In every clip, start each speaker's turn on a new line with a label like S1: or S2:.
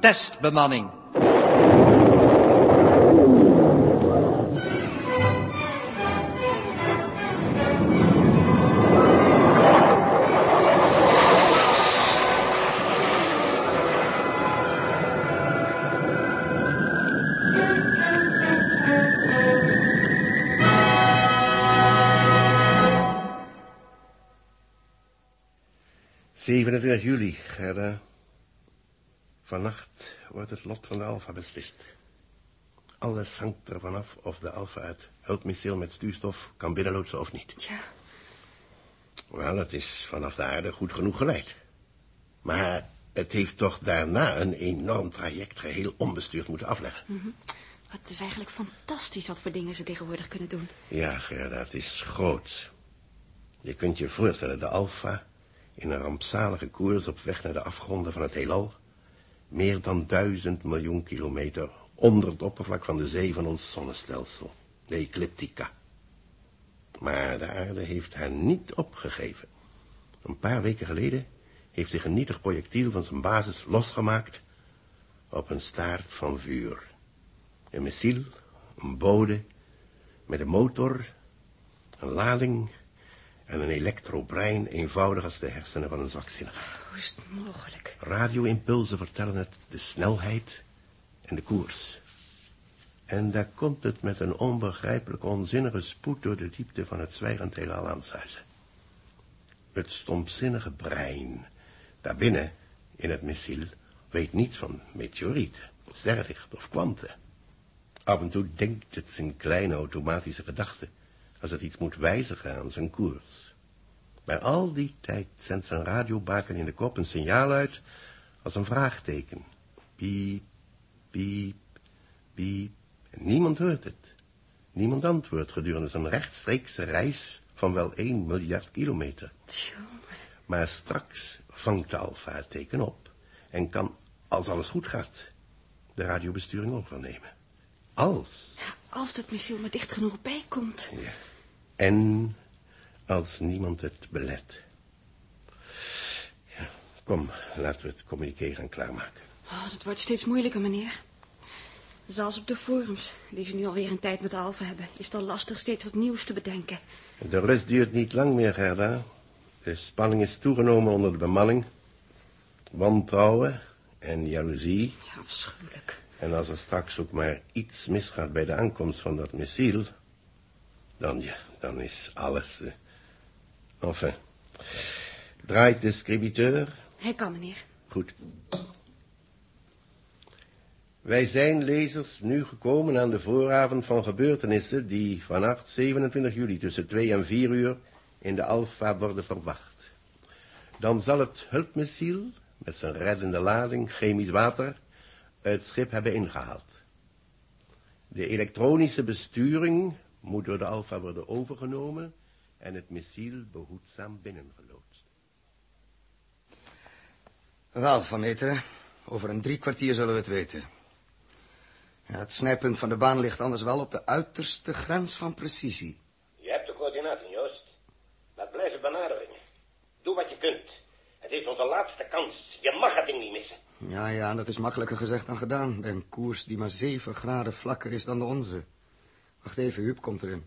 S1: testbemanning.
S2: ...27 juli, Gerda. Vannacht wordt het lot van de Alfa beslist. Alles hangt er vanaf of de Alfa het hulpmissiel met stuurstof kan binnenloodsen of niet.
S3: Tja,
S2: Wel, het is vanaf de aarde goed genoeg geleid. Maar het heeft toch daarna een enorm traject geheel onbestuurd moeten afleggen.
S3: wat is eigenlijk fantastisch wat voor dingen ze tegenwoordig kunnen doen.
S2: Ja, Gerda, het is groot. Je kunt je voorstellen, de Alfa in een rampzalige koers op weg naar de afgronden van het heelal. Meer dan duizend miljoen kilometer onder het oppervlak van de zee van ons zonnestelsel, de ecliptica. Maar de aarde heeft haar niet opgegeven. Een paar weken geleden heeft zich een nietig projectiel van zijn basis losgemaakt op een staart van vuur. Een missiel, een bode, met een motor, een lading en een elektrobrein eenvoudig als de hersenen van een zwakzinnige.
S3: Hoe is het mogelijk?
S2: Radioimpulsen vertellen het de snelheid en de koers. En daar komt het met een onbegrijpelijk onzinnige spoed door de diepte van het zwijgend heelal aan het zuizen. Het stomzinnige brein, daarbinnen in het missiel, weet niets van meteorieten, sterrenlicht of kwanten. Af en toe denkt het zijn kleine automatische gedachten als het iets moet wijzigen aan zijn koers. Maar al die tijd zendt zijn radiobaken in de kop een signaal uit als een vraagteken. Piep, piep, piep. En niemand hoort het. Niemand antwoordt gedurende zijn rechtstreekse reis van wel 1 miljard kilometer.
S3: Tjonge.
S2: Maar straks vangt de alfa het teken op en kan, als alles goed gaat, de radiobesturing overnemen. Als.
S3: Als dat missiel maar dicht genoeg bij komt.
S2: Ja. En als niemand het belet. Ja, kom, laten we het communiqué gaan klaarmaken.
S3: Oh, dat wordt steeds moeilijker, meneer. Zelfs op de forums, die ze nu alweer een tijd met de Alfa hebben... is het al lastig steeds wat nieuws te bedenken.
S2: De rust duurt niet lang meer, Gerda. De spanning is toegenomen onder de bemanning. Wantrouwen en jaloezie.
S3: Ja, afschuwelijk.
S2: En als er straks ook maar iets misgaat bij de aankomst van dat missiel... dan ja, dan is alles... eh, enfin. Draait de scribiteur...
S3: Hij kan, meneer.
S2: Goed. Wij zijn, lezers, nu gekomen aan de vooravond van gebeurtenissen... die vannacht 27 juli tussen 2 en 4 uur in de Alfa worden verwacht. Dan zal het hulpmissiel, met zijn reddende lading, chemisch water... het schip hebben ingehaald. De elektronische besturing moet door de Alfa worden overgenomen... en het missiel behoedzaam binnengeloodst.
S4: Wel, Van Meteren, over een drie kwartier zullen we het weten. Ja, het snijpunt van de baan ligt anders wel op de uiterste grens van precisie.
S5: Je hebt de coördinaten, Joost. Laat blijven benaderingen. Doe wat je kunt. Het is onze laatste kans. Je mag het ding niet missen.
S4: Ja, ja, dat is makkelijker gezegd dan gedaan. Bij een koers die maar zeven graden vlakker is dan de onze. Wacht even, Huub komt erin.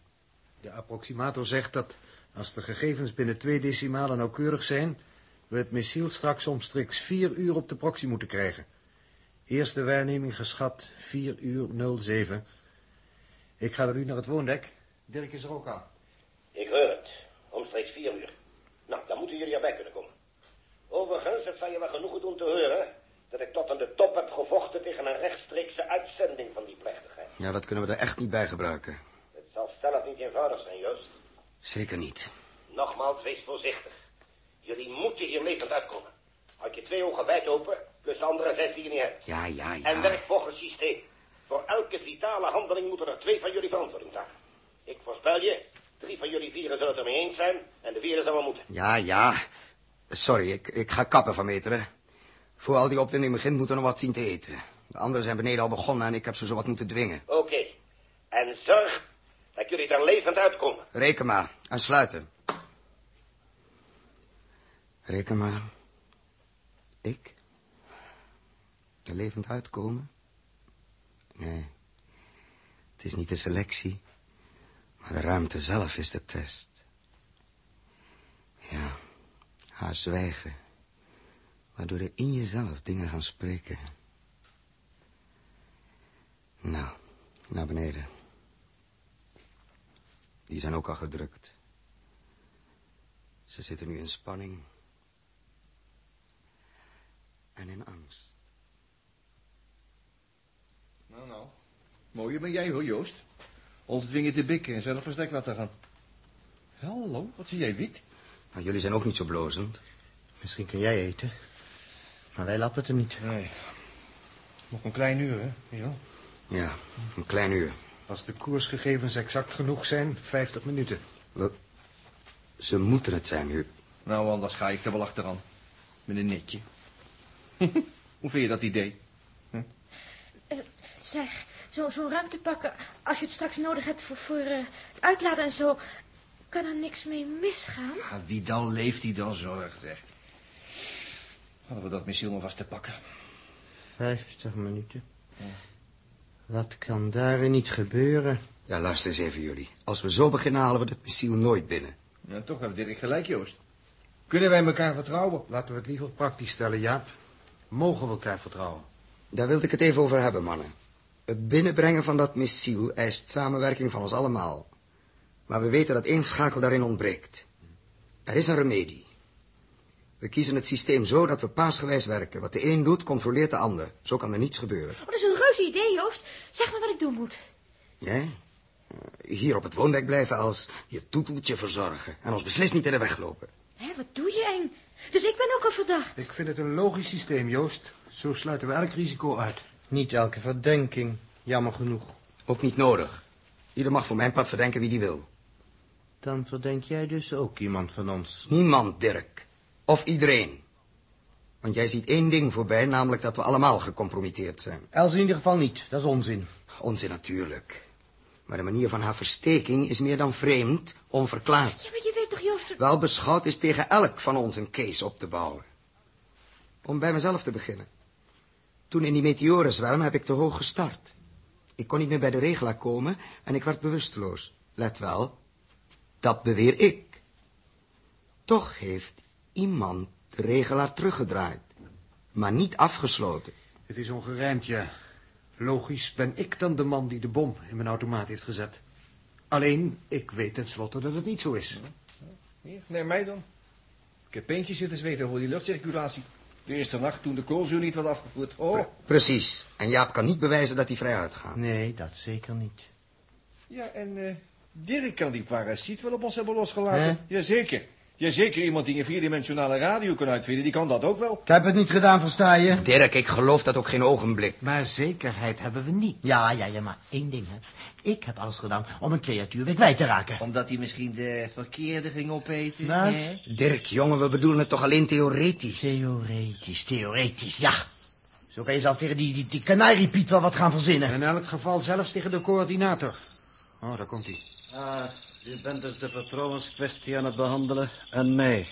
S6: De approximator zegt dat als de gegevens binnen twee decimalen nauwkeurig zijn... we het missiel straks omstreeks vier uur op de proxy moeten krijgen. Eerste waarneming geschat, 4 uur 07. Ik ga er nu naar het woondek. Dirk is er ook aan.
S5: Ik hoor het. Omstreeks vier uur. Nou, dan moeten jullie erbij kunnen komen. Overigens, het zal je wel genoegen doen te horen... dat ik tot aan de top heb gevochten tegen een rechtstreekse uitzending van die plechtigheid.
S4: Ja, dat kunnen we er echt niet bij gebruiken.
S5: Het zal stellig niet eenvoudig zijn, Joost.
S4: Zeker niet.
S5: Nogmaals, wees voorzichtig. Jullie moeten hier levend uitkomen. Houd je twee ogen wijd open, plus de andere zes die je niet hebt.
S4: Ja, ja,
S5: En
S4: ja.
S5: werk volgens systeem. Voor elke vitale handeling moeten er twee van jullie verantwoording dragen. Ik voorspel je, drie van jullie vieren zullen het ermee eens zijn... en de vierde zal wel moeten.
S4: Ja, ja. Sorry, ik, ik ga kappen van meteren. Voor al die opwinding begint, moeten we nog wat zien te eten. De anderen zijn beneden al begonnen en ik heb ze zo wat moeten dwingen.
S5: Oké. En zorg dat jullie er levend uitkomen.
S4: Reken maar. En sluiten. Reken maar. Ik? Er levend uitkomen? Nee. Het is niet de selectie, maar de ruimte zelf is de test. Ja, haar zwijgen. Waardoor er in jezelf dingen gaan spreken. Nou, naar beneden. Die zijn ook al gedrukt. Ze zitten nu in spanning. En in angst.
S1: Nou, nou. Mooier ben jij hoor, Joost. Ons dwingen te bikken en zelf verstek laten gaan. Hallo, wat zie jij wit?
S4: Maar jullie zijn ook niet zo blozend.
S7: Misschien kun jij eten. Maar wij lappen het hem niet.
S1: Nee. Nog een klein uur, hè? Ja.
S4: Ja, een klein uur.
S6: Als de koersgegevens exact genoeg zijn, 50 minuten.
S4: We... Ze moeten het zijn, Huub.
S1: Nou, anders ga ik er wel achteraan. Met een netje. Hoe vind je dat idee?
S8: Zeg, zo- zo'n ruimte pakken, als je het straks nodig hebt voor, voor eh, het uitladen en zo, kan er niks mee misgaan.
S1: Ja, wie dan leeft, die dan zorgt, zeg. Hadden we dat missiel maar vast te pakken.
S7: 50 minuten. Wat kan daarin niet gebeuren?
S4: Ja, luister eens even, jullie. Als we zo beginnen, halen we dat missiel nooit binnen.
S1: Ja, toch heeft Dirk gelijk, Joost. Kunnen wij elkaar vertrouwen?
S6: Laten we het liever praktisch stellen, Jaap. Mogen we elkaar vertrouwen?
S4: Daar wilde ik het even over hebben, mannen. Het binnenbrengen van dat missiel eist samenwerking van ons allemaal. Maar we weten dat één schakel daarin ontbreekt. Er is een remedie. We kiezen het systeem zo dat we paasgewijs werken. Wat de een doet, controleert de ander. Zo kan er niets gebeuren.
S8: Oh, dat is een reuze idee, Joost. Zeg maar wat ik doen moet.
S4: Jij? Eh, Hier op het woondek blijven als je toeteltje verzorgen. En ons beslist niet in de weg lopen.
S8: Hé, wat doe je eng? Dus ik ben ook al verdacht.
S6: Ik vind het een logisch systeem, Joost. Zo sluiten we elk risico uit.
S7: Niet elke verdenking, jammer genoeg.
S4: Ook niet nodig. Ieder mag voor mijn pad verdenken wie die wil.
S7: Dan verdenk jij dus ook iemand van ons.
S4: Niemand, Dirk. Of iedereen. Want jij ziet één ding voorbij, namelijk dat we allemaal gecompromitteerd zijn.
S7: Els in ieder geval niet, dat is onzin.
S4: Onzin natuurlijk. Maar de manier van haar versteking is meer dan vreemd, onverklaard.
S8: Ja, maar je weet toch, Joost... dat-
S4: Wel beschouwd is tegen elk van ons een case op te bouwen. Om bij mezelf te beginnen. Toen in die meteorenzwerm heb ik te hoog gestart. Ik kon niet meer bij de regelaar komen en ik werd bewusteloos. Let wel, dat beweer ik. Toch heeft iemand de regelaar teruggedraaid. Maar niet afgesloten.
S6: Het is ongerijmd, ja. Logisch ben ik dan de man die de bom in mijn automaat heeft gezet. Alleen, ik weet tenslotte dat het niet zo is.
S1: Hier, neem mij dan. Ik heb eentje zitten zweten over die luchtcirculatie. De eerste nacht toen de koolzuur niet werd afgevoerd. Oh,
S4: Precies. En Jaap kan niet bewijzen dat hij vrij uitgaat.
S7: Nee, dat zeker niet.
S1: Ja, en eh, Dirk kan die parasiet wel op ons hebben losgelaten.
S7: Hè?
S1: Jazeker. Jazeker, iemand die een vierdimensionale radio kan uitvinden, die kan dat ook wel.
S7: Ik heb het niet gedaan, versta je?
S4: Dirk, ik geloof dat ook geen ogenblik.
S6: Maar zekerheid hebben we niet.
S7: Ja, ja, ja, maar één ding, hè. Ik heb alles gedaan om een creatuur weer kwijt te raken.
S9: Omdat hij misschien de verkeerde ging opeten.
S7: Wat?
S6: Nou,
S9: hè?
S4: Dirk, jongen, we bedoelen het toch alleen theoretisch?
S7: Theoretisch, theoretisch, ja. Zo kan je zelf tegen die, die, die kanariepiet wel wat gaan verzinnen.
S6: In elk geval zelfs tegen de coördinator. Oh, daar komt hij.
S9: Ah, u bent dus de vertrouwenskwestie aan het behandelen en mij.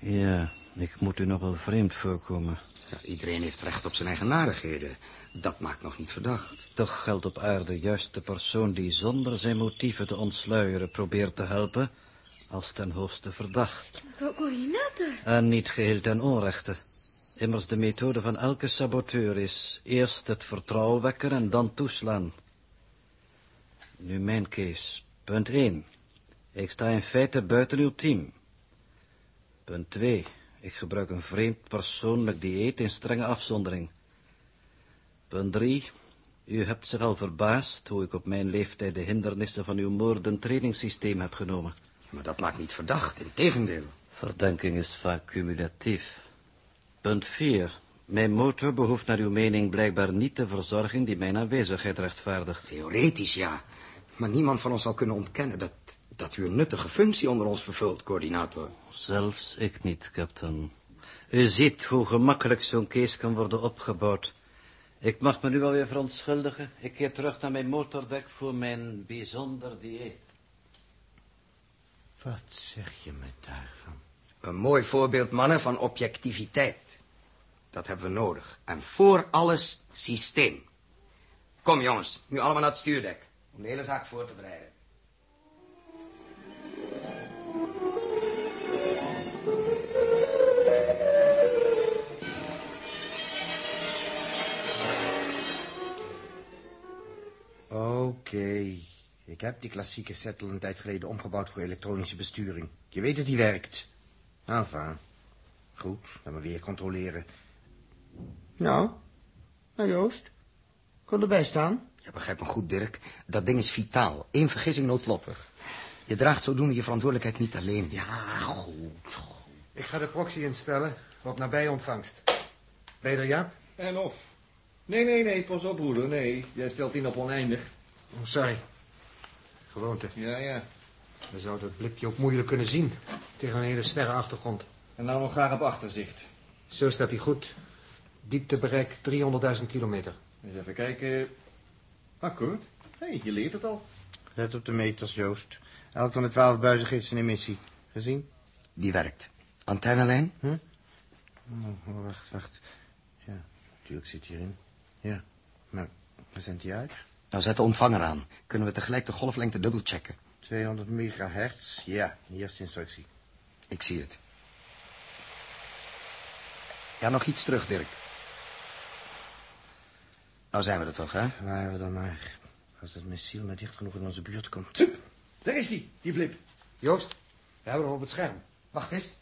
S9: Ja, ik moet u nog wel vreemd voorkomen.
S4: Ja, iedereen heeft recht op zijn eigen narigheden. Dat maakt nog niet verdacht.
S9: Toch geldt op aarde juist de persoon die zonder zijn motieven te ontsluieren probeert te helpen, als ten hoogste verdacht.
S8: Co- Coördinator.
S9: En niet geheel ten onrechte. Immers de methode van elke saboteur is eerst het vertrouwen wekken en dan toeslaan. Nu mijn case. Punt 1. Ik sta in feite buiten uw team. Punt 2. Ik gebruik een vreemd persoonlijk dieet in strenge afzondering. Punt 3. U hebt zich al verbaasd hoe ik op mijn leeftijd de hindernissen van uw moorden trainingssysteem heb genomen.
S4: Maar dat maakt niet verdacht, integendeel.
S9: Verdenking is vaak cumulatief. Punt 4. Mijn motor behoeft naar uw mening blijkbaar niet de verzorging die mijn aanwezigheid rechtvaardigt.
S4: Theoretisch, ja. Maar niemand van ons zal kunnen ontkennen dat, dat u een nuttige functie onder ons vervult, coördinator.
S9: Zelfs ik niet, captain. U ziet hoe gemakkelijk zo'n case kan worden opgebouwd. Ik mag me nu alweer verontschuldigen. Ik keer terug naar mijn motordek voor mijn bijzonder dieet.
S7: Wat zeg je me daarvan?
S4: Een mooi voorbeeld, mannen, van objectiviteit. Dat hebben we nodig. En voor alles systeem. Kom jongens, nu allemaal naar het stuurdek. Om de hele zaak voor te bereiden.
S7: Oké. Ik heb die klassieke set al een tijd geleden omgebouwd voor elektronische besturing. Je weet dat die werkt. Enfin. Goed, dan maar weer controleren. Nou? Nou, Joost? Kon erbij staan?
S4: Ja, begrijp me goed, Dirk. Dat ding is vitaal. Eén vergissing noodlottig. Je draagt zodoende je verantwoordelijkheid niet alleen. Ja, goed.
S6: Ik ga de proxy instellen op nabij ontvangst. Ben je er, Jaap?
S1: En of. Nee, nee, nee, pas op, broeder, nee. Jij stelt in op oneindig.
S6: Oh, sorry. Gewoonte.
S1: Ja, ja.
S6: We zouden dat blipje ook moeilijk kunnen zien. Tegen een hele sterrenachtergrond.
S1: En nou nog graag op achterzicht.
S6: Zo staat hij goed. Dieptebereik 300.000 kilometer.
S1: Eens even kijken. Akkoord. Hé, hey, je leert het al.
S7: Let op de meters, Joost. Elk van de twaalf buizen geeft zijn emissie. Gezien?
S4: Die werkt. Antennelijn?
S7: Hm? Oh, wacht, wacht. Ja, natuurlijk zit hierin. Ja, maar waar zendt die uit?
S4: Nou, zet de ontvanger aan. Kunnen we tegelijk de golflengte dubbelchecken.
S7: 200 megahertz. Ja, de eerste instructie.
S4: Ik zie het. Ja, nog iets terug, Dirk. Nou zijn we er toch, hè?
S7: Waren we dan maar. Als dat missiel maar dicht genoeg in onze buurt komt.
S1: Daar is die, die blip.
S6: Joost, we hebben hem op het scherm.
S4: Wacht eens.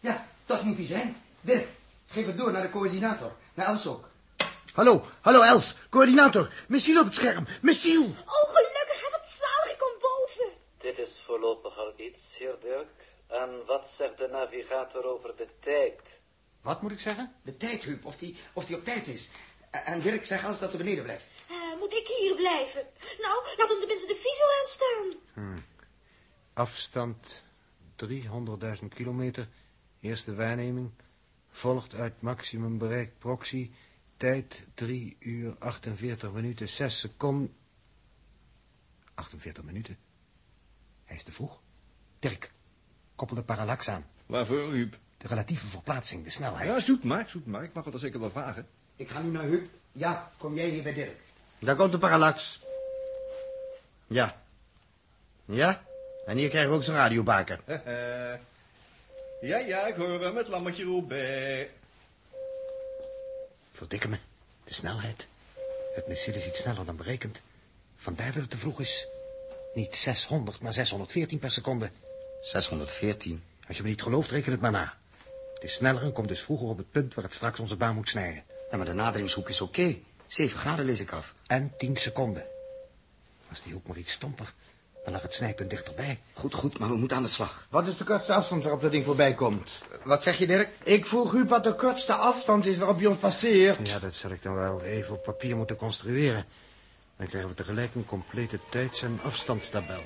S4: Ja, dat moet hij zijn. Dirk, geef het door naar de coördinator. Naar Els ook.
S7: Hallo, hallo Els, coördinator. Missiel op het scherm. Missiel!
S8: Oh, gelukkig, hè, wat zalig, ik kom boven.
S10: Dit is voorlopig al iets, heer Dirk. En wat zegt de navigator over de tijd?
S6: Wat moet ik zeggen?
S4: De tijd, Huub, of die, of die op tijd is. En- En Dirk, zeg Els dat ze beneden blijft.
S8: Eh, moet ik hier blijven? Nou, laat hem tenminste de visio aanstaan.
S6: Afstand 300.000 kilometer. Eerste waarneming. Volgt uit maximum bereik proxy. Tijd 3 uur 48 minuten 6 seconden. 48 minuten? Hij is te vroeg. Dirk, koppel de parallax aan.
S1: Waarvoor, Huub?
S6: De relatieve verplaatsing, de snelheid.
S1: Ja, zoet maar, zoet maar. Ik mag het al zeker wel vragen.
S4: Ik ga nu naar Huub. Ja, kom jij hier bij Dirk.
S7: Daar komt de parallax. Ja. Ja? En hier krijgen we ook zijn radiobaker.
S1: ja, ja, ik hoor hem, het lammetje Roubaix.
S6: Verdikke me. De snelheid. Het missiel is iets sneller dan berekend. Vandaar dat het te vroeg is. Niet 600, maar 614 per seconde.
S4: 614.
S6: Als je me niet gelooft, reken het maar na. Het is sneller en komt dus vroeger op het punt waar het straks onze baan moet snijden.
S4: Ja, maar de naderingshoek is oké. 7 graden lees ik af.
S6: En 10 seconden. Was die hoek maar iets stomper, dan lag het snijpunt dichterbij.
S4: Goed, goed, maar we moeten aan de slag.
S7: Wat is de kortste afstand waarop dat ding voorbij komt?
S4: Wat zeg je, Dirk?
S7: Ik vroeg u wat de kortste afstand is waarop hij ons passeert.
S6: Ja, dat zal ik dan wel even op papier moeten construeren. Dan krijgen we tegelijk een complete tijds- en afstandstabel.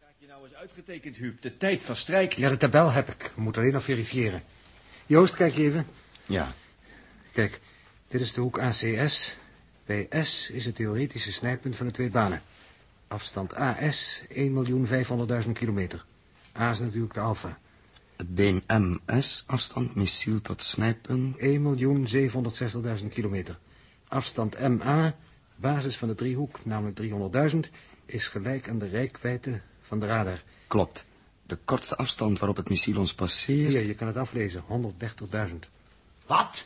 S1: Kijk je nou eens uitgetekend, Huub. De tijd verstrijkt.
S6: Ja, de tabel heb ik. Moet alleen nog verifiëren. Joost, kijk even.
S4: Ja.
S6: Kijk, dit is de hoek ACS. Bij S is het theoretische snijpunt van de twee banen. Afstand AS 1.500.000 kilometer. A is natuurlijk de alfa.
S4: Het been MS, afstand missiel tot snijpunt.
S6: 1.760.000 kilometer. Afstand MA, basis van de driehoek, namelijk 300.000, is gelijk aan de rijkwijde van de radar.
S4: Klopt. De kortste afstand waarop het missiel ons passeert...
S6: Hier, je kan het aflezen, 130.000.
S7: Wat?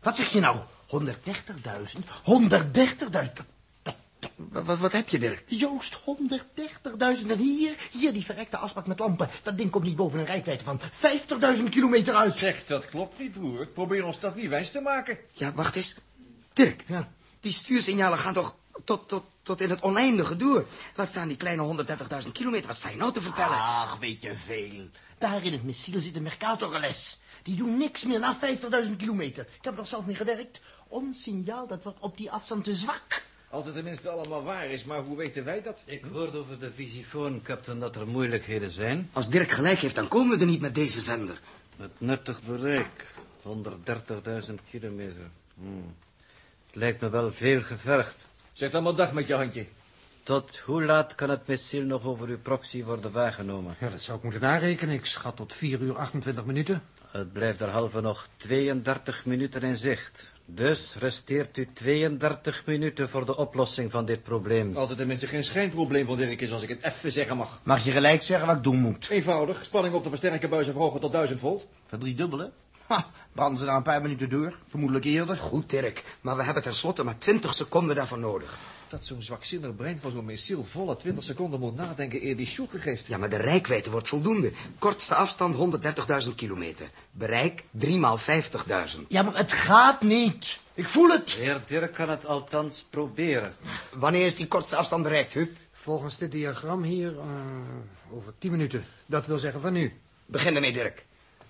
S7: Wat zeg je nou? 130.000? 130.000? Dat- dat- dat-
S4: Wa- wa- Wat heb je, Dirk?
S7: Joost, 130.000 en hier, hier die verrekte afspraak met lampen. Dat ding komt niet boven een rijkwijde van 50.000 kilometer uit.
S1: Zeg, dat klopt niet, broer. Probeer ons dat niet wijs te maken.
S4: Ja, wacht eens. Dirk,
S7: Ja.
S4: die stuursignalen gaan toch tot, tot, tot in het oneindige door. Laat staan die kleine 130.000 kilometer. Wat sta je nou te vertellen?
S7: Ach, weet je veel. Daar in het missiel zit een Mercatorles. Die doen niks meer na 50.000 kilometer. Ik heb er nog zelf mee gewerkt. Ons signaal, dat wordt op die afstand te zwak.
S1: Als het tenminste allemaal waar is, maar hoe weten wij dat?
S9: Ik hoorde over de visifoon, kapitein, dat er moeilijkheden zijn.
S4: Als Dirk gelijk heeft, dan komen we er niet met deze zender.
S9: Het nuttig bereik, 130.000 kilometer. Hm. Het lijkt me wel veel gevergd.
S1: Zeg dan maar dag met je handje.
S9: Tot hoe laat kan het missiel nog over uw proxy worden waargenomen?
S7: Ja, dat zou ik moeten narekenen. Ik schat tot 4 uur 28 minuten.
S9: Het blijft derhalve nog 32 minuten in zicht. Dus resteert u 32 minuten voor de oplossing van dit probleem.
S6: Als het tenminste geen schijnprobleem van Dirk is, als ik het even zeggen mag.
S4: Mag je gelijk zeggen wat ik doen moet?
S6: Eenvoudig, spanning op de versterkerbuis verhogen tot 1000 volt.
S4: Verdriedubbelen? Ha, branden ze na een paar minuten door? Vermoedelijk eerder?
S11: Goed, Dirk, maar we hebben tenslotte maar 20 seconden daarvoor nodig.
S6: Dat zo'n zwakzinnig brein van zo'n missiel volle 20 seconden moet nadenken eer die sjoegen geeft.
S11: Ja, maar de rijkwijde wordt voldoende. Kortste afstand 130.000 kilometer. Bereik 3 maal 50.000.
S4: Ja, maar het gaat niet. Ik voel het.
S9: De heer Dirk kan het althans proberen.
S11: Wanneer is die kortste afstand bereikt, Huub?
S7: Volgens dit diagram hier eh, over 10 minuten. Dat wil zeggen van nu.
S11: Begin ermee, Dirk.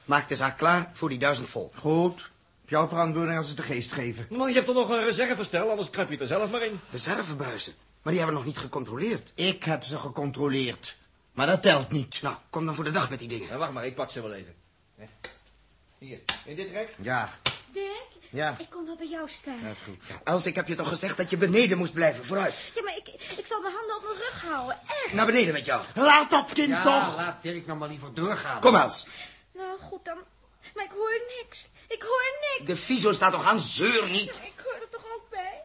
S11: Maak de zaak klaar voor die 1000 volt.
S4: Goed. Op jouw verantwoording als ze de geest geven.
S6: Man, je hebt er nog een reservestel, anders krap je er zelf maar in.
S11: Reservebuizen. Maar die hebben we nog niet gecontroleerd.
S4: Ik heb ze gecontroleerd. Maar dat telt niet.
S11: Nou, kom dan voor de dag met die dingen.
S6: Ja, wacht maar, ik pak ze wel even. Hè. Hier, in dit rek?
S4: Ja,
S8: Dirk?
S4: Ja.
S8: Ik kom wel bij jou staan. Ja,
S11: Ja, Els, ik heb je toch gezegd dat je beneden moest blijven. Vooruit.
S8: maar ik, ik zal mijn handen op mijn rug houden. Echt.
S11: Naar beneden met jou.
S4: Laat dat kind toch!
S7: laat Dirk nou maar liever doorgaan.
S11: Kom, Els.
S8: Nou, goed dan. Maar ik hoor niks. Ik hoor niks.
S11: De viso staat toch aan. Zeur niet.
S8: Ik hoor er toch ook bij?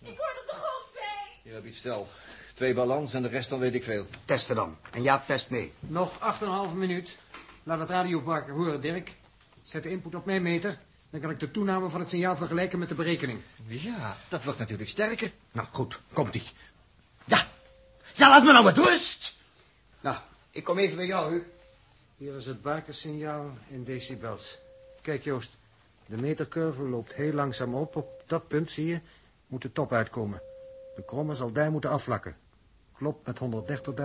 S8: Ik hoor er toch ook bij?
S6: Hier heb je het stel. Twee balans en de rest dan weet ik veel.
S11: Testen dan. En ja, test mee.
S7: Nog 8,5 minuut. Laat het radiopark horen, Dirk. Zet de input op mijn meter. Dan kan ik de toename van het signaal vergelijken met de berekening.
S6: Ja, dat wordt natuurlijk sterker.
S4: Nou, goed. Komt-ie. Ja. Ja, laat me nou met rust.
S11: Nou, ik kom even bij jou, Huub.
S7: Hier is het bakersignaal in decibels. Kijk, Joost. De metercurve loopt heel langzaam op. Op dat punt, zie je, moet de top uitkomen. De kromme zal daar moeten afvlakken. Klopt met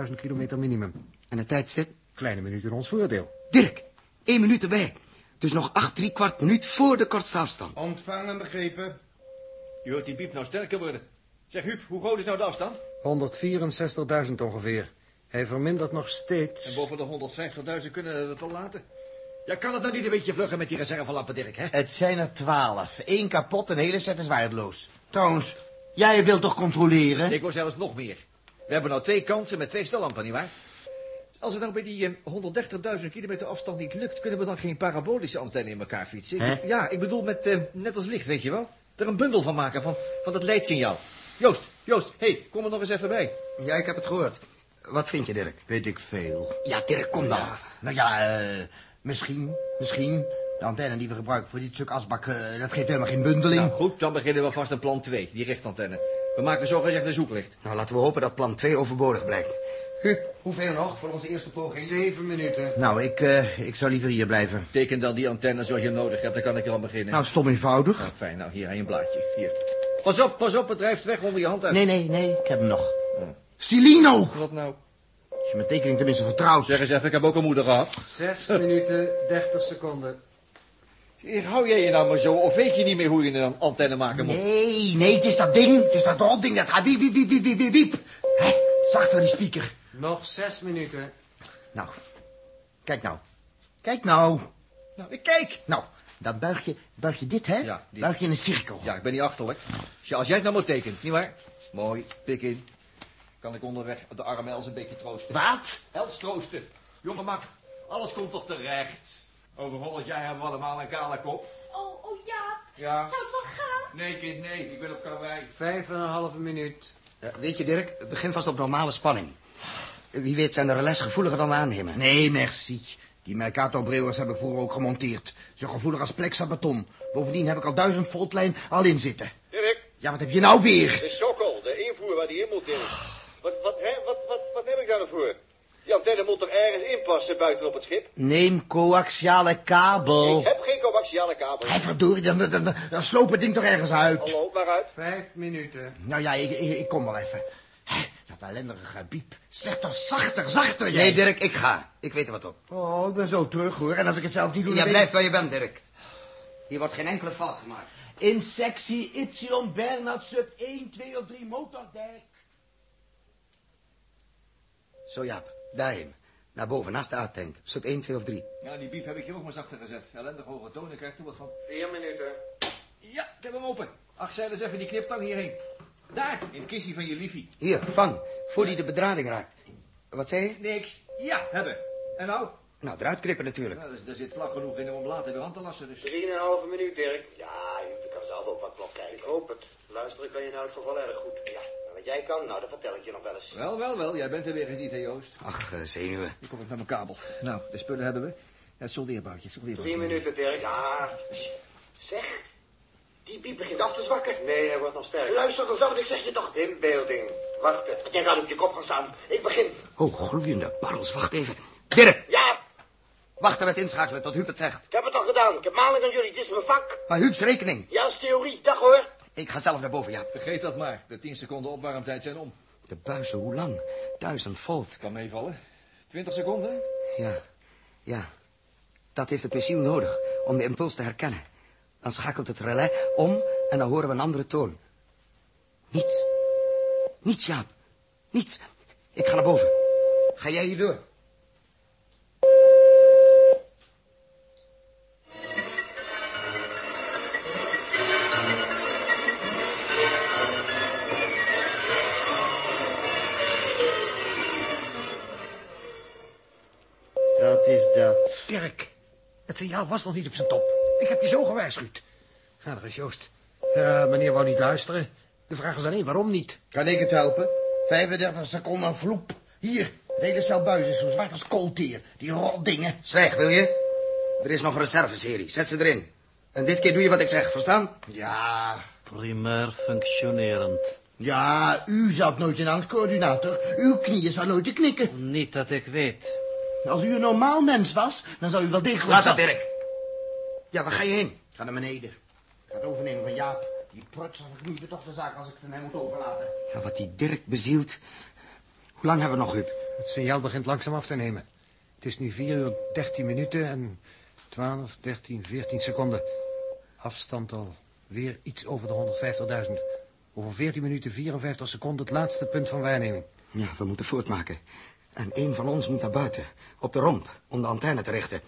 S7: 130.000 kilometer minimum.
S11: En het tijdstip?
S7: Kleine minuut in ons voordeel.
S11: Dirk, één minuut erbij. Dus nog acht, drie kwart minuut voor de kortste afstand.
S4: Oh, Ontvangen begrepen.
S6: Je hoort die piep nou sterker worden. Zeg, Huub, hoe groot is nou de afstand?
S7: 164.000 ongeveer. Hij vermindert nog
S6: En
S7: steeds...
S6: boven de 150.000 kunnen we het wel laten. Ja, kan het nou niet een beetje vlugger met die reservelappen, Dirk, hè?
S4: Het zijn er twaalf. Eén kapot, een hele set is waardeloos. Trouwens, jij wilt toch controleren?
S6: Ik wou zelfs nog meer. We hebben nou twee kansen met twee stellampen, nietwaar? Als het nou bij die eh, 130.000 kilometer afstand niet lukt... kunnen we dan geen parabolische antenne in elkaar fietsen? Ik-
S4: Hè?
S6: Ja, ik bedoel met, eh, net als licht, weet je wel? Er een bundel van maken, van, van dat leidsignaal. Joost, Joost, hé, hey, kom er nog eens even bij.
S11: Ja, ik heb het gehoord. Wat vind je, Dirk?
S4: Weet ik veel.
S11: Ja, Dirk, kom dan.
S4: Nou ja, eh, misschien, misschien. De antenne die we gebruiken voor dit stuk asbak, eh, dat geeft helemaal geen bundeling.
S6: Nou, goed, dan beginnen we vast aan plan 2, die richtantenne. We maken zogezegd een zoeklicht.
S11: Nou, laten we hopen dat plan 2 overbodig blijkt. Huub, hoeveel nog voor onze eerste poging?
S7: Zeven minuten.
S4: Nou, ik, eh, ik zou liever hier blijven.
S6: Teken dan die antenne zoals je nodig hebt, dan kan ik al beginnen.
S4: Nou, stom eenvoudig.
S6: Nou, fijn, nou, hier, aan je blaadje. Hier. Pas op, pas op, het drijft weg onder je hand uit.
S4: Nee, nee, nee, ik heb hem nog. Stilino!
S6: Wat nou?
S4: Als je mijn tekening tenminste vertrouwt.
S6: Zeg eens even, ik heb ook een moeder gehad.
S7: Zes minuten, 30 seconden.
S6: Hier, Hou jij je nou maar zo, of weet je niet meer hoe je een antenne maken moet?
S4: Nee, nee, het is dat ding. Het is dat rot ding. Dat gaat biep, biep, biep, biep, biep, biep, biep. Hé, zachter die speaker.
S7: Nog zes minuten.
S4: Nou, kijk nou. Kijk nou.
S6: Nou, ik kijk!
S4: Nou, dan buig je, buig je dit, hè?
S6: Ja, dit.
S4: Buig je in een cirkel.
S6: Ja, ik ben niet achterlijk. Tja, als jij het nou maar tekent, nietwaar? Mooi, pik in. Kan ik onderweg de arme Els een beetje troosten.
S4: Wat?
S6: Els troosten. Jongen, mak, alles komt toch terecht? Over honderd jaar hebben we allemaal een kale kop.
S8: Oh, oh ja.
S6: Ja.
S8: Zou het wel gaan?
S6: Nee, kind, nee, ik ben op karwei.
S7: Vijf en een halve minuut.
S11: Ja, weet je, Dirk, begin vast op normale spanning. Wie weet zijn de relais gevoeliger dan we aannemen.
S4: Nee, merci. Die Mercato-breuwers heb ik vroeger ook gemonteerd. Zo gevoelig als plexa beton. Bovendien heb ik al duizend voltlijn al in zitten.
S5: Dirk,
S4: Ja, wat heb je nou weer?
S5: de sokkel, de invoer waar die in moet, Dirk. Wat, wat, hè, wat, wat, wat heb ik daar nou voor? Die antenne moet er ergens in passen buiten op het schip.
S4: Neem coaxiale kabel.
S5: Ik heb geen coaxiale kabel.
S4: Hé, verdorie, dan, dan, dan, dan sloop het ding toch ergens uit.
S5: Hallo, waaruit?
S7: Vijf minuten.
S4: Nou ja, ik, ik, ik kom wel even. Hé, dat ellendige gebiep. Zeg toch zachter, zachter, jij.
S11: Nee, Dirk, ik ga. Ik weet er wat op.
S4: Oh, ik ben zo terug, hoor. En als ik het zelf niet doe,
S11: Ja,
S4: dan
S11: blijf waar je bent, Dirk. Hier wordt geen enkele fout gemaakt.
S4: In sectie Y, Bernard, sub 1, 2 of 3, motordijk.
S11: Zo, Jaap, daarheen. Naar boven, naast de A-tank. Sub 1, 2 of 3.
S6: Ja, die biep heb ik hier ook maar zachter gezet. Ellendig hoge tonen krijgt er wat van.
S7: Vier minuten.
S6: Ja, ik heb hem open. Ach, zeil eens even die kniptang hierheen.
S1: Daar, in het kistje van je liefie.
S4: Hier, vang, voor die de bedrading raakt. Wat zei je?
S1: Niks. Ja, hebben. En nou?
S4: Nou, eruit knippen natuurlijk.
S1: Nou, daar zit vlak genoeg in om later de hand te lassen. Dus.
S10: 3,5 minuut, Dirk. Ja, je kan zelf ook wat klok kijken. Ik hoop het. Luisteren kan je nou het geval erg goed. Ja, en wat jij kan, nou, dat vertel ik je nog wel eens.
S1: Wel, wel, wel. Jij bent er weer niet, hè, Joost?
S4: Ach, eh, zenuwen.
S1: Hier kom ik met mijn kabel. Nou, de spullen hebben we. Het soldeerboutje, het soldeerboutje.
S10: Drie minuten, Dirk. Ja.
S7: Zeg, die piep begint af te zwakken.
S10: Nee, hij wordt nog sterker.
S7: Luister dan zelf, ik zeg je toch.
S10: Inbeelding. Wachten.
S7: Jij kan op je kop gaan staan. Ik begin.
S4: Oh, gloeiende barrels, wacht even. Dirk,
S7: Ja,
S4: wachten met inschakelen tot Huub het zegt.
S7: ik heb het al gedaan. Ik heb maling aan jullie. Dit is mijn vak.
S4: Maar Huub's rekening.
S7: Ja, is theorie. Dag hoor.
S4: Ik ga zelf naar boven, ja.
S1: Vergeet dat maar. De 10 seconden opwarmtijd zijn om.
S4: De buizen, hoe lang? Duizend volt.
S1: Kan meevallen. 20 seconden?
S4: Ja, ja. Dat heeft het missiel nodig om de impuls te herkennen. Dan schakelt het relais om en dan horen we een andere toon. Niets. Niets, Jaap. Niets. Ik ga naar boven. Ga jij hier door.
S6: Dat is dat.
S7: Dirk, het signaal was nog niet op zijn top. Ik heb je zo gewaarschuwd.
S6: Ga er eens, Joost.
S7: Eh,
S6: Ja, meneer wou niet luisteren. De vraag is alleen, waarom niet?
S7: Kan ik het helpen? 35 seconden vloep. Hier, het hele stel buizen is zo zwart als koolteer. Die rotdingen.
S4: Zwijg, wil je? Er is nog een reserveserie. Zet ze erin. En dit keer doe je wat ik zeg, verstaan?
S7: Ja,
S9: Primair functionerend.
S7: ja, u zat nooit in angstcoördinator. Uw knieën zouden nooit te knikken.
S9: Niet dat ik weet.
S4: Nou,
S7: Als u een normaal mens was, dan zou u wel degelijk...
S4: Laat dat, Dirk. Ja, waar ga je heen?
S7: Ga naar beneden. Ik ga het overnemen van Jaap. Die pruts verknoeit me toch de zaak als ik het aan hem moet overlaten.
S4: Ja, wat die Dirk bezielt. Hoe lang hebben we nog, Huub?
S6: Het signaal begint langzaam af te nemen. Het is nu 4 uur 13 minuten en 12, 13, 14 seconden. Afstand al weer iets over de 150.000. Over 14 minuten 54 seconden het laatste punt van waarneming.
S4: Ja, we moeten voortmaken. En een van ons moet naar buiten, op de romp, om de antenne te richten.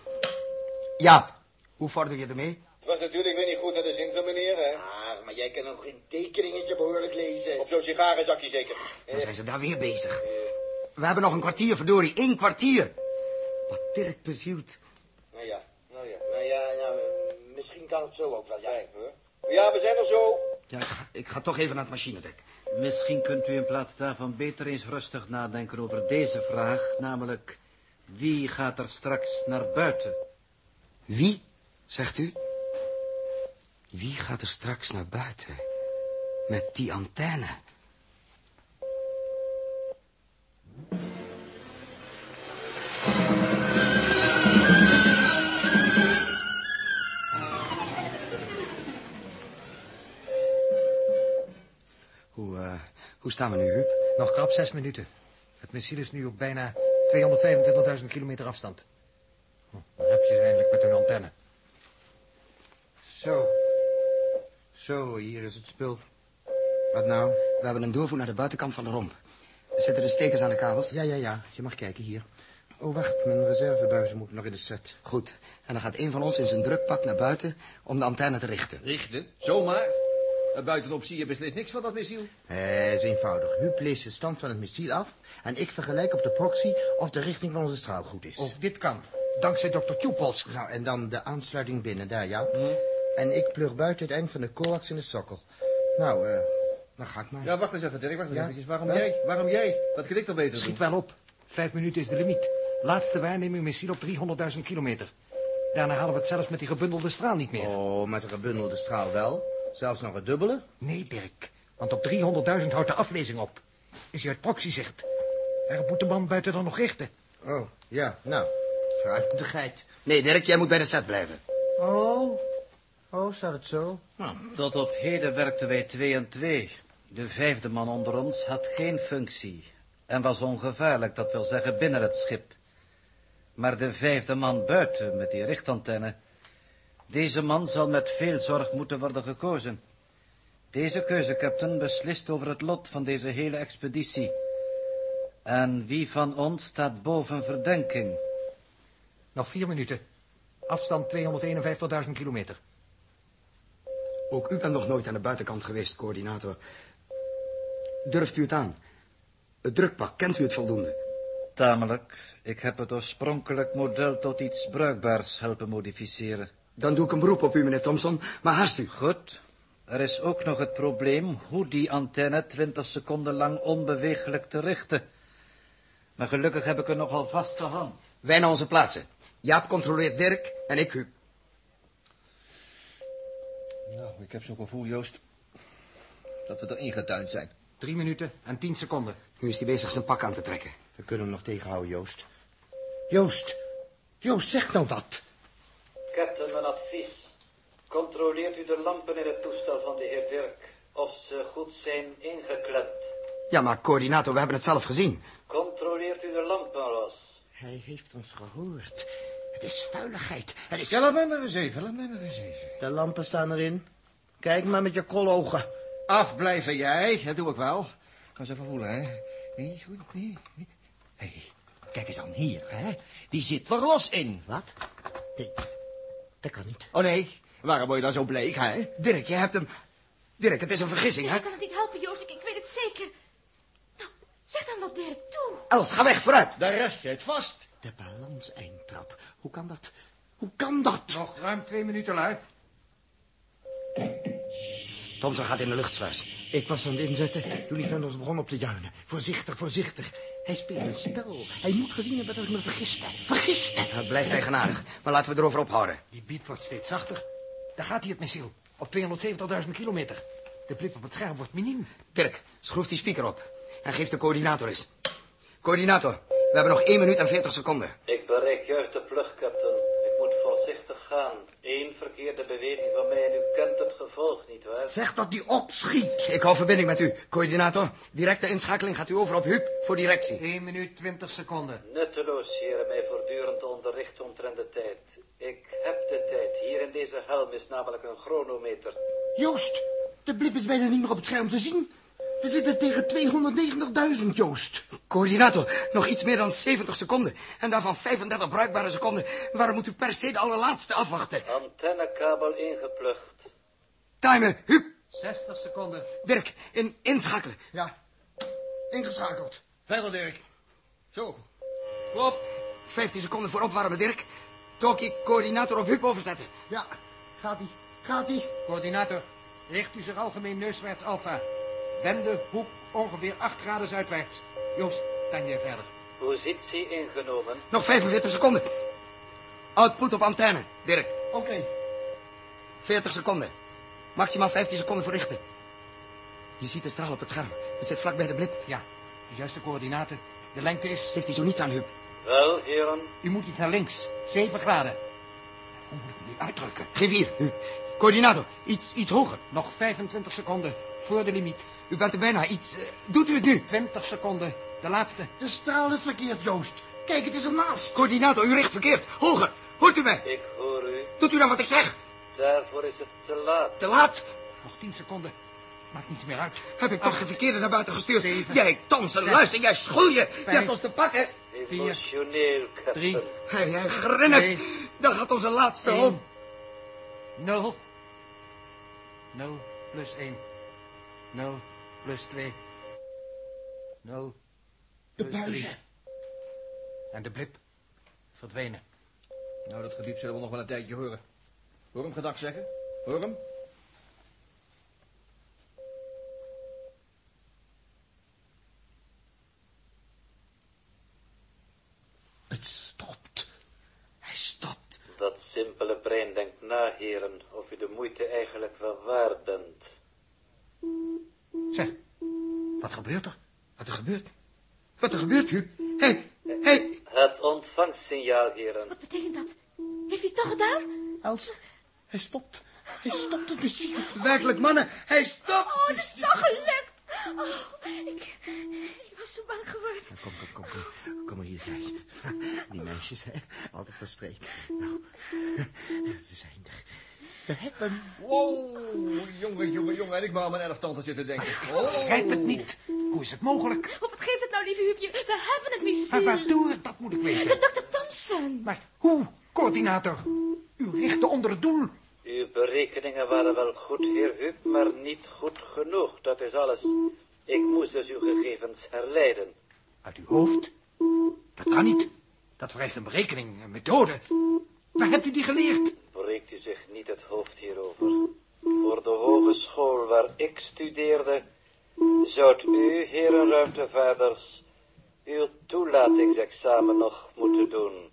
S4: Jaap, hoe vorder je ermee?
S5: Het was natuurlijk weer niet goed naar de zin van meneer, hè?
S7: Ah, maar jij kan nog geen tekeningetje behoorlijk lezen.
S5: Op zo'n sigarenzakje zeker.
S4: Dan zijn ze daar weer bezig. We hebben nog een kwartier, verdorie, één kwartier. Wat Dirk bezielt.
S5: Nou ja, nou ja.
S7: Nou ja, nou, eh, misschien kan het zo ook wel, ja.
S5: Ja, we zijn er zo.
S4: Ja, ik ga, ik ga toch even naar het machinedek.
S9: Misschien kunt u in plaats daarvan beter eens rustig nadenken over deze vraag, namelijk wie gaat er straks naar buiten?
S4: Wie, zegt u? Wie gaat er straks naar buiten? Met die antenne. Hoe, eh, hoe staan we nu, Huub?
S6: Nog krap 6 minuten. Het missiel is nu op bijna 225.000 kilometer afstand. Hm, Daar heb je ze eindelijk met hun antenne.
S7: Zo. Zo, hier is het spul. Wat nou?
S4: We hebben een doorvoer naar de buitenkant van de romp. Zitten de stekers aan de kabels?
S7: Ja, ja, ja. Je mag kijken hier. Oh, wacht. Mijn reservebuizen moeten nog in de set.
S4: Goed. En dan gaat een van ons in zijn drukpak naar buiten om de antenne te richten.
S1: Richten? Zomaar? En buitenop zie je beslist niks van dat missiel.
S7: Eh, is eenvoudig. Huub leest de stand van het missiel af... en ik vergelijk op de proxy of de richting van onze straal goed
S4: Oh.
S7: is.
S6: Ook Oh, dit kan, dankzij dokter Tjoepels.
S7: Nou, en dan de aansluiting binnen, daar, ja.
S1: Mhm.
S7: En ik plug buiten het eind van de coax in de sokkel. Nou, eh, dan ga ik maar.
S1: Ja, wacht eens even, Dirk. Wacht eens
S7: Ja?
S1: eventjes. Waarom
S7: Wel?
S1: jij? Waarom jij? Dat kan ik toch beter
S6: Schiet
S1: doen?
S6: wel op. Vijf minuten is de limiet. Laatste waarneming missiel op 300.000 kilometer. Daarna halen we het zelfs met die gebundelde straal niet meer.
S7: Oh, met de gebundelde straal wel. Zelfs nog het dubbele.
S6: Nee, Dirk. Want op 300.000 houdt de aflezing op. Is hij uit proxyzicht. Daar moet de man buiten dan nog richten.
S7: Oh, ja, nou. Fruitigheid.
S4: Nee, Dirk, jij moet bij de set blijven.
S7: Oh, oh, staat het zo?
S9: Tot op heden werkten wij twee en twee. De vijfde man onder ons had geen functie en was ongevaarlijk, dat wil zeggen binnen het schip. Maar de vijfde man buiten, met die richtantenne, deze man zal met veel zorg moeten worden gekozen. Deze keuze, captain, beslist over het lot van deze hele expeditie. En wie van ons staat boven verdenking?
S6: Nog vier minuten. Afstand 251.000 kilometer.
S4: Ook u bent nog nooit aan de buitenkant geweest, coördinator. Durft u het aan? Het drukpak, kent u het voldoende?
S12: Tamelijk. Ik heb het oorspronkelijk model tot iets bruikbaars helpen modificeren.
S4: Dan doe ik een beroep op u, meneer Thompson, maar haast u.
S12: Goed. Er is ook nog het probleem hoe die antenne 20 seconden lang onbeweeglijk te richten. Maar gelukkig heb ik een nogal vaste hand.
S4: Wij naar onze plaatsen. Jaap controleert Dirk en ik Huub.
S7: Nou, ik heb zo'n gevoel, Joost.
S13: Dat we er ingetuind zijn.
S6: Drie minuten en tien seconden.
S4: Nu is hij bezig zijn pak aan te trekken.
S7: We kunnen hem nog tegenhouden, Joost. Joost! Joost, zeg nou wat!
S9: Captain, een advies. Controleert u de lampen in het toestel van de heer Dirk of ze goed zijn ingeklemd.
S4: Ja, maar coördinator, we hebben het zelf gezien.
S9: Controleert u de lampen, Ross.
S7: Hij heeft ons gehoord. Het is vuiligheid. Het is...
S6: Ja, laat mij maar eens even, laat mij maar eens even.
S7: De lampen staan erin. Kijk maar met je krologen.
S13: Afblijven jij, dat doe ik wel. Kan ze even voelen, hè? Nee, goed, nee. nee. Hé, kijk eens dan hier, hè? Die zit er los in.
S7: Wat? Nee, dat kan niet.
S13: Oh nee, waarom word je dan zo bleek, hè?
S4: Dirk, je hebt hem... Dirk, het is een vergissing, hè?
S8: Ik kan het niet helpen, Joost. Ik, ik weet het zeker. Nou, zeg dan wat, Dirk. Toe.
S4: Els, ga weg, vooruit.
S13: De rest zit vast.
S7: De balans-eindtrap. Hoe kan dat? Hoe kan dat?
S6: Nog ruim twee minuten, lui.
S4: Thompson gaat in de luchtsluis.
S7: Ik was aan het inzetten toen die vent ons begon op te juinen. Voorzichtig, voorzichtig. Hij speelt een spel. Hij moet gezien hebben dat ik me vergiste. Vergiste!
S4: Het blijft eigenaardig, maar laten we erover ophouden.
S6: Die biep wordt steeds zachter. Daar gaat hij het missiel. Op 270.000 kilometer. De blip op het scherm wordt miniem.
S4: Dirk, schroef die speaker op. En geef de coördinator eens. Coördinator, we hebben nog 1 minuut en 40 seconden.
S9: Ik bereik juist de plug, Captain. Ik moet voorzichtig gaan. Eén verkeerde beweging van mij en u kent het gevolg, nietwaar?
S7: Zeg dat die opschiet.
S4: Ik hou verbinding met u, coördinator. Directe inschakeling gaat u over op Huub voor directie.
S6: 1 minuut 20 seconden.
S9: Nutteloos, heren, mij voortdurend te onderrichten omtrent de tijd. Ik heb de tijd. Hier in deze helm is namelijk een chronometer.
S7: Joost, de blip is bijna niet meer op het scherm te zien. We zitten tegen 290.000, Joost.
S4: Coördinator, nog iets meer dan 70 seconden. En daarvan 35 bruikbare seconden. Waarom moet u per se de allerlaatste afwachten?
S9: Antennekabel ingeplucht.
S4: Timer, Huub,
S6: 60 seconden.
S4: Dirk, in, inschakelen.
S7: Ja, ingeschakeld.
S13: Verder, Dirk. Zo. Klop.
S4: 15 seconden voor opwarmen, Dirk. Toki, coördinator op Huub overzetten.
S7: Ja, gaat-ie, gaat-ie.
S6: Coördinator, richt u zich algemeen neuswaarts alfa. Wende hoek ongeveer 8 graden zuidwaarts. Joost, dan jij verder.
S9: Positie ingenomen.
S4: Nog 45 seconden. Output op antenne, Dirk.
S7: Oké.
S4: 40 seconden. Maximaal 15 seconden voor richten. Je ziet de straal op het scherm. Het zit vlak bij de blip.
S6: Ja, de juiste coördinaten. De lengte is...
S4: Heeft hij zo niets aan, Huub?
S9: Wel, heren.
S6: U moet iets naar links. 7 graden. Hoe moet ik me nu uitdrukken?
S4: Geef hier, Huub. Coördinator, iets, iets hoger.
S6: Nog 25 seconden. Voor de limiet.
S4: U bent er bijna iets... eh, doet u het nu?
S6: 20 seconden. De laatste.
S7: De straal is verkeerd, Joost. Kijk, het is ernaast.
S4: Coördinator, u richt verkeerd. Hoger. Hoort u mij?
S9: Ik hoor u.
S4: Doet u dan wat ik zeg?
S9: Daarvoor is het te laat.
S4: Te laat.
S6: Nog 10 seconden. Maakt niets meer uit.
S4: Heb ik
S7: Ah.
S4: toch de verkeerde naar buiten gestuurd?
S6: Zeven.
S4: jij, Thompson,
S6: Zes.
S4: luister, jij schoelje. Je
S6: Vijf.
S4: hebt ons te pakken.
S9: Emotioneel, Captain.
S6: Drie.
S4: Hij, hij grinnikt.
S6: Twee.
S4: Dan gaat onze laatste
S6: Eén.
S4: om.
S6: 0. 0 plus 1. 0 plus 2. 0
S7: De
S6: plus drie.
S7: buizen.
S6: En de blip verdwenen.
S13: Nou, dat gediep zullen we nog wel een tijdje horen. Hoor hem gedag zeggen. Hoor hem.
S7: Het stopt. Hij stopt.
S9: Dat simpele brein denkt na, heren, of u de moeite eigenlijk wel waard bent.
S6: Zeg, wat gebeurt er?
S4: Wat er gebeurt? Wat er gebeurt, Huub? Hé, hé.
S9: Het ontvangsignaal, heren.
S8: Wat betekent dat? Heeft hij het toch gedaan?
S7: Els, hij stopt. Hij stopt het muziek.
S4: Werkelijk, mannen. Hij stopt.
S8: Oh, het is toch gelukt. Oh, ik, ik was zo bang geworden.
S7: Kom, kom, kom, kom. Kom maar hier, jij. Die meisjes, hè. Altijd van streek. Nou, we zijn er. We hebben hem.
S13: Wow, jongen, jongen, jongen. En ik maar aan mijn elf tanden zitten denken. Oh.
S6: Grijp het niet. Hoe is het mogelijk?
S8: Of wat geeft het nou, lieve Huubje? We hebben het
S6: Maar
S8: missiel.
S6: waardoor, dat moet ik weten.
S8: De dokter Thompson.
S6: Maar hoe, coördinator? U richtte onder het doel.
S9: Uw berekeningen waren wel goed, heer Huub, maar niet goed genoeg, dat is alles. Ik moest dus uw gegevens herleiden.
S6: Uit uw hoofd? Dat kan niet. Dat vereist een berekening, een methode. Waar hebt u die geleerd?
S9: Breekt u zich niet het hoofd hierover. Voor de hogeschool waar ik studeerde, zoudt u, heren ruimtevaarders, uw toelatingsexamen nog moeten doen.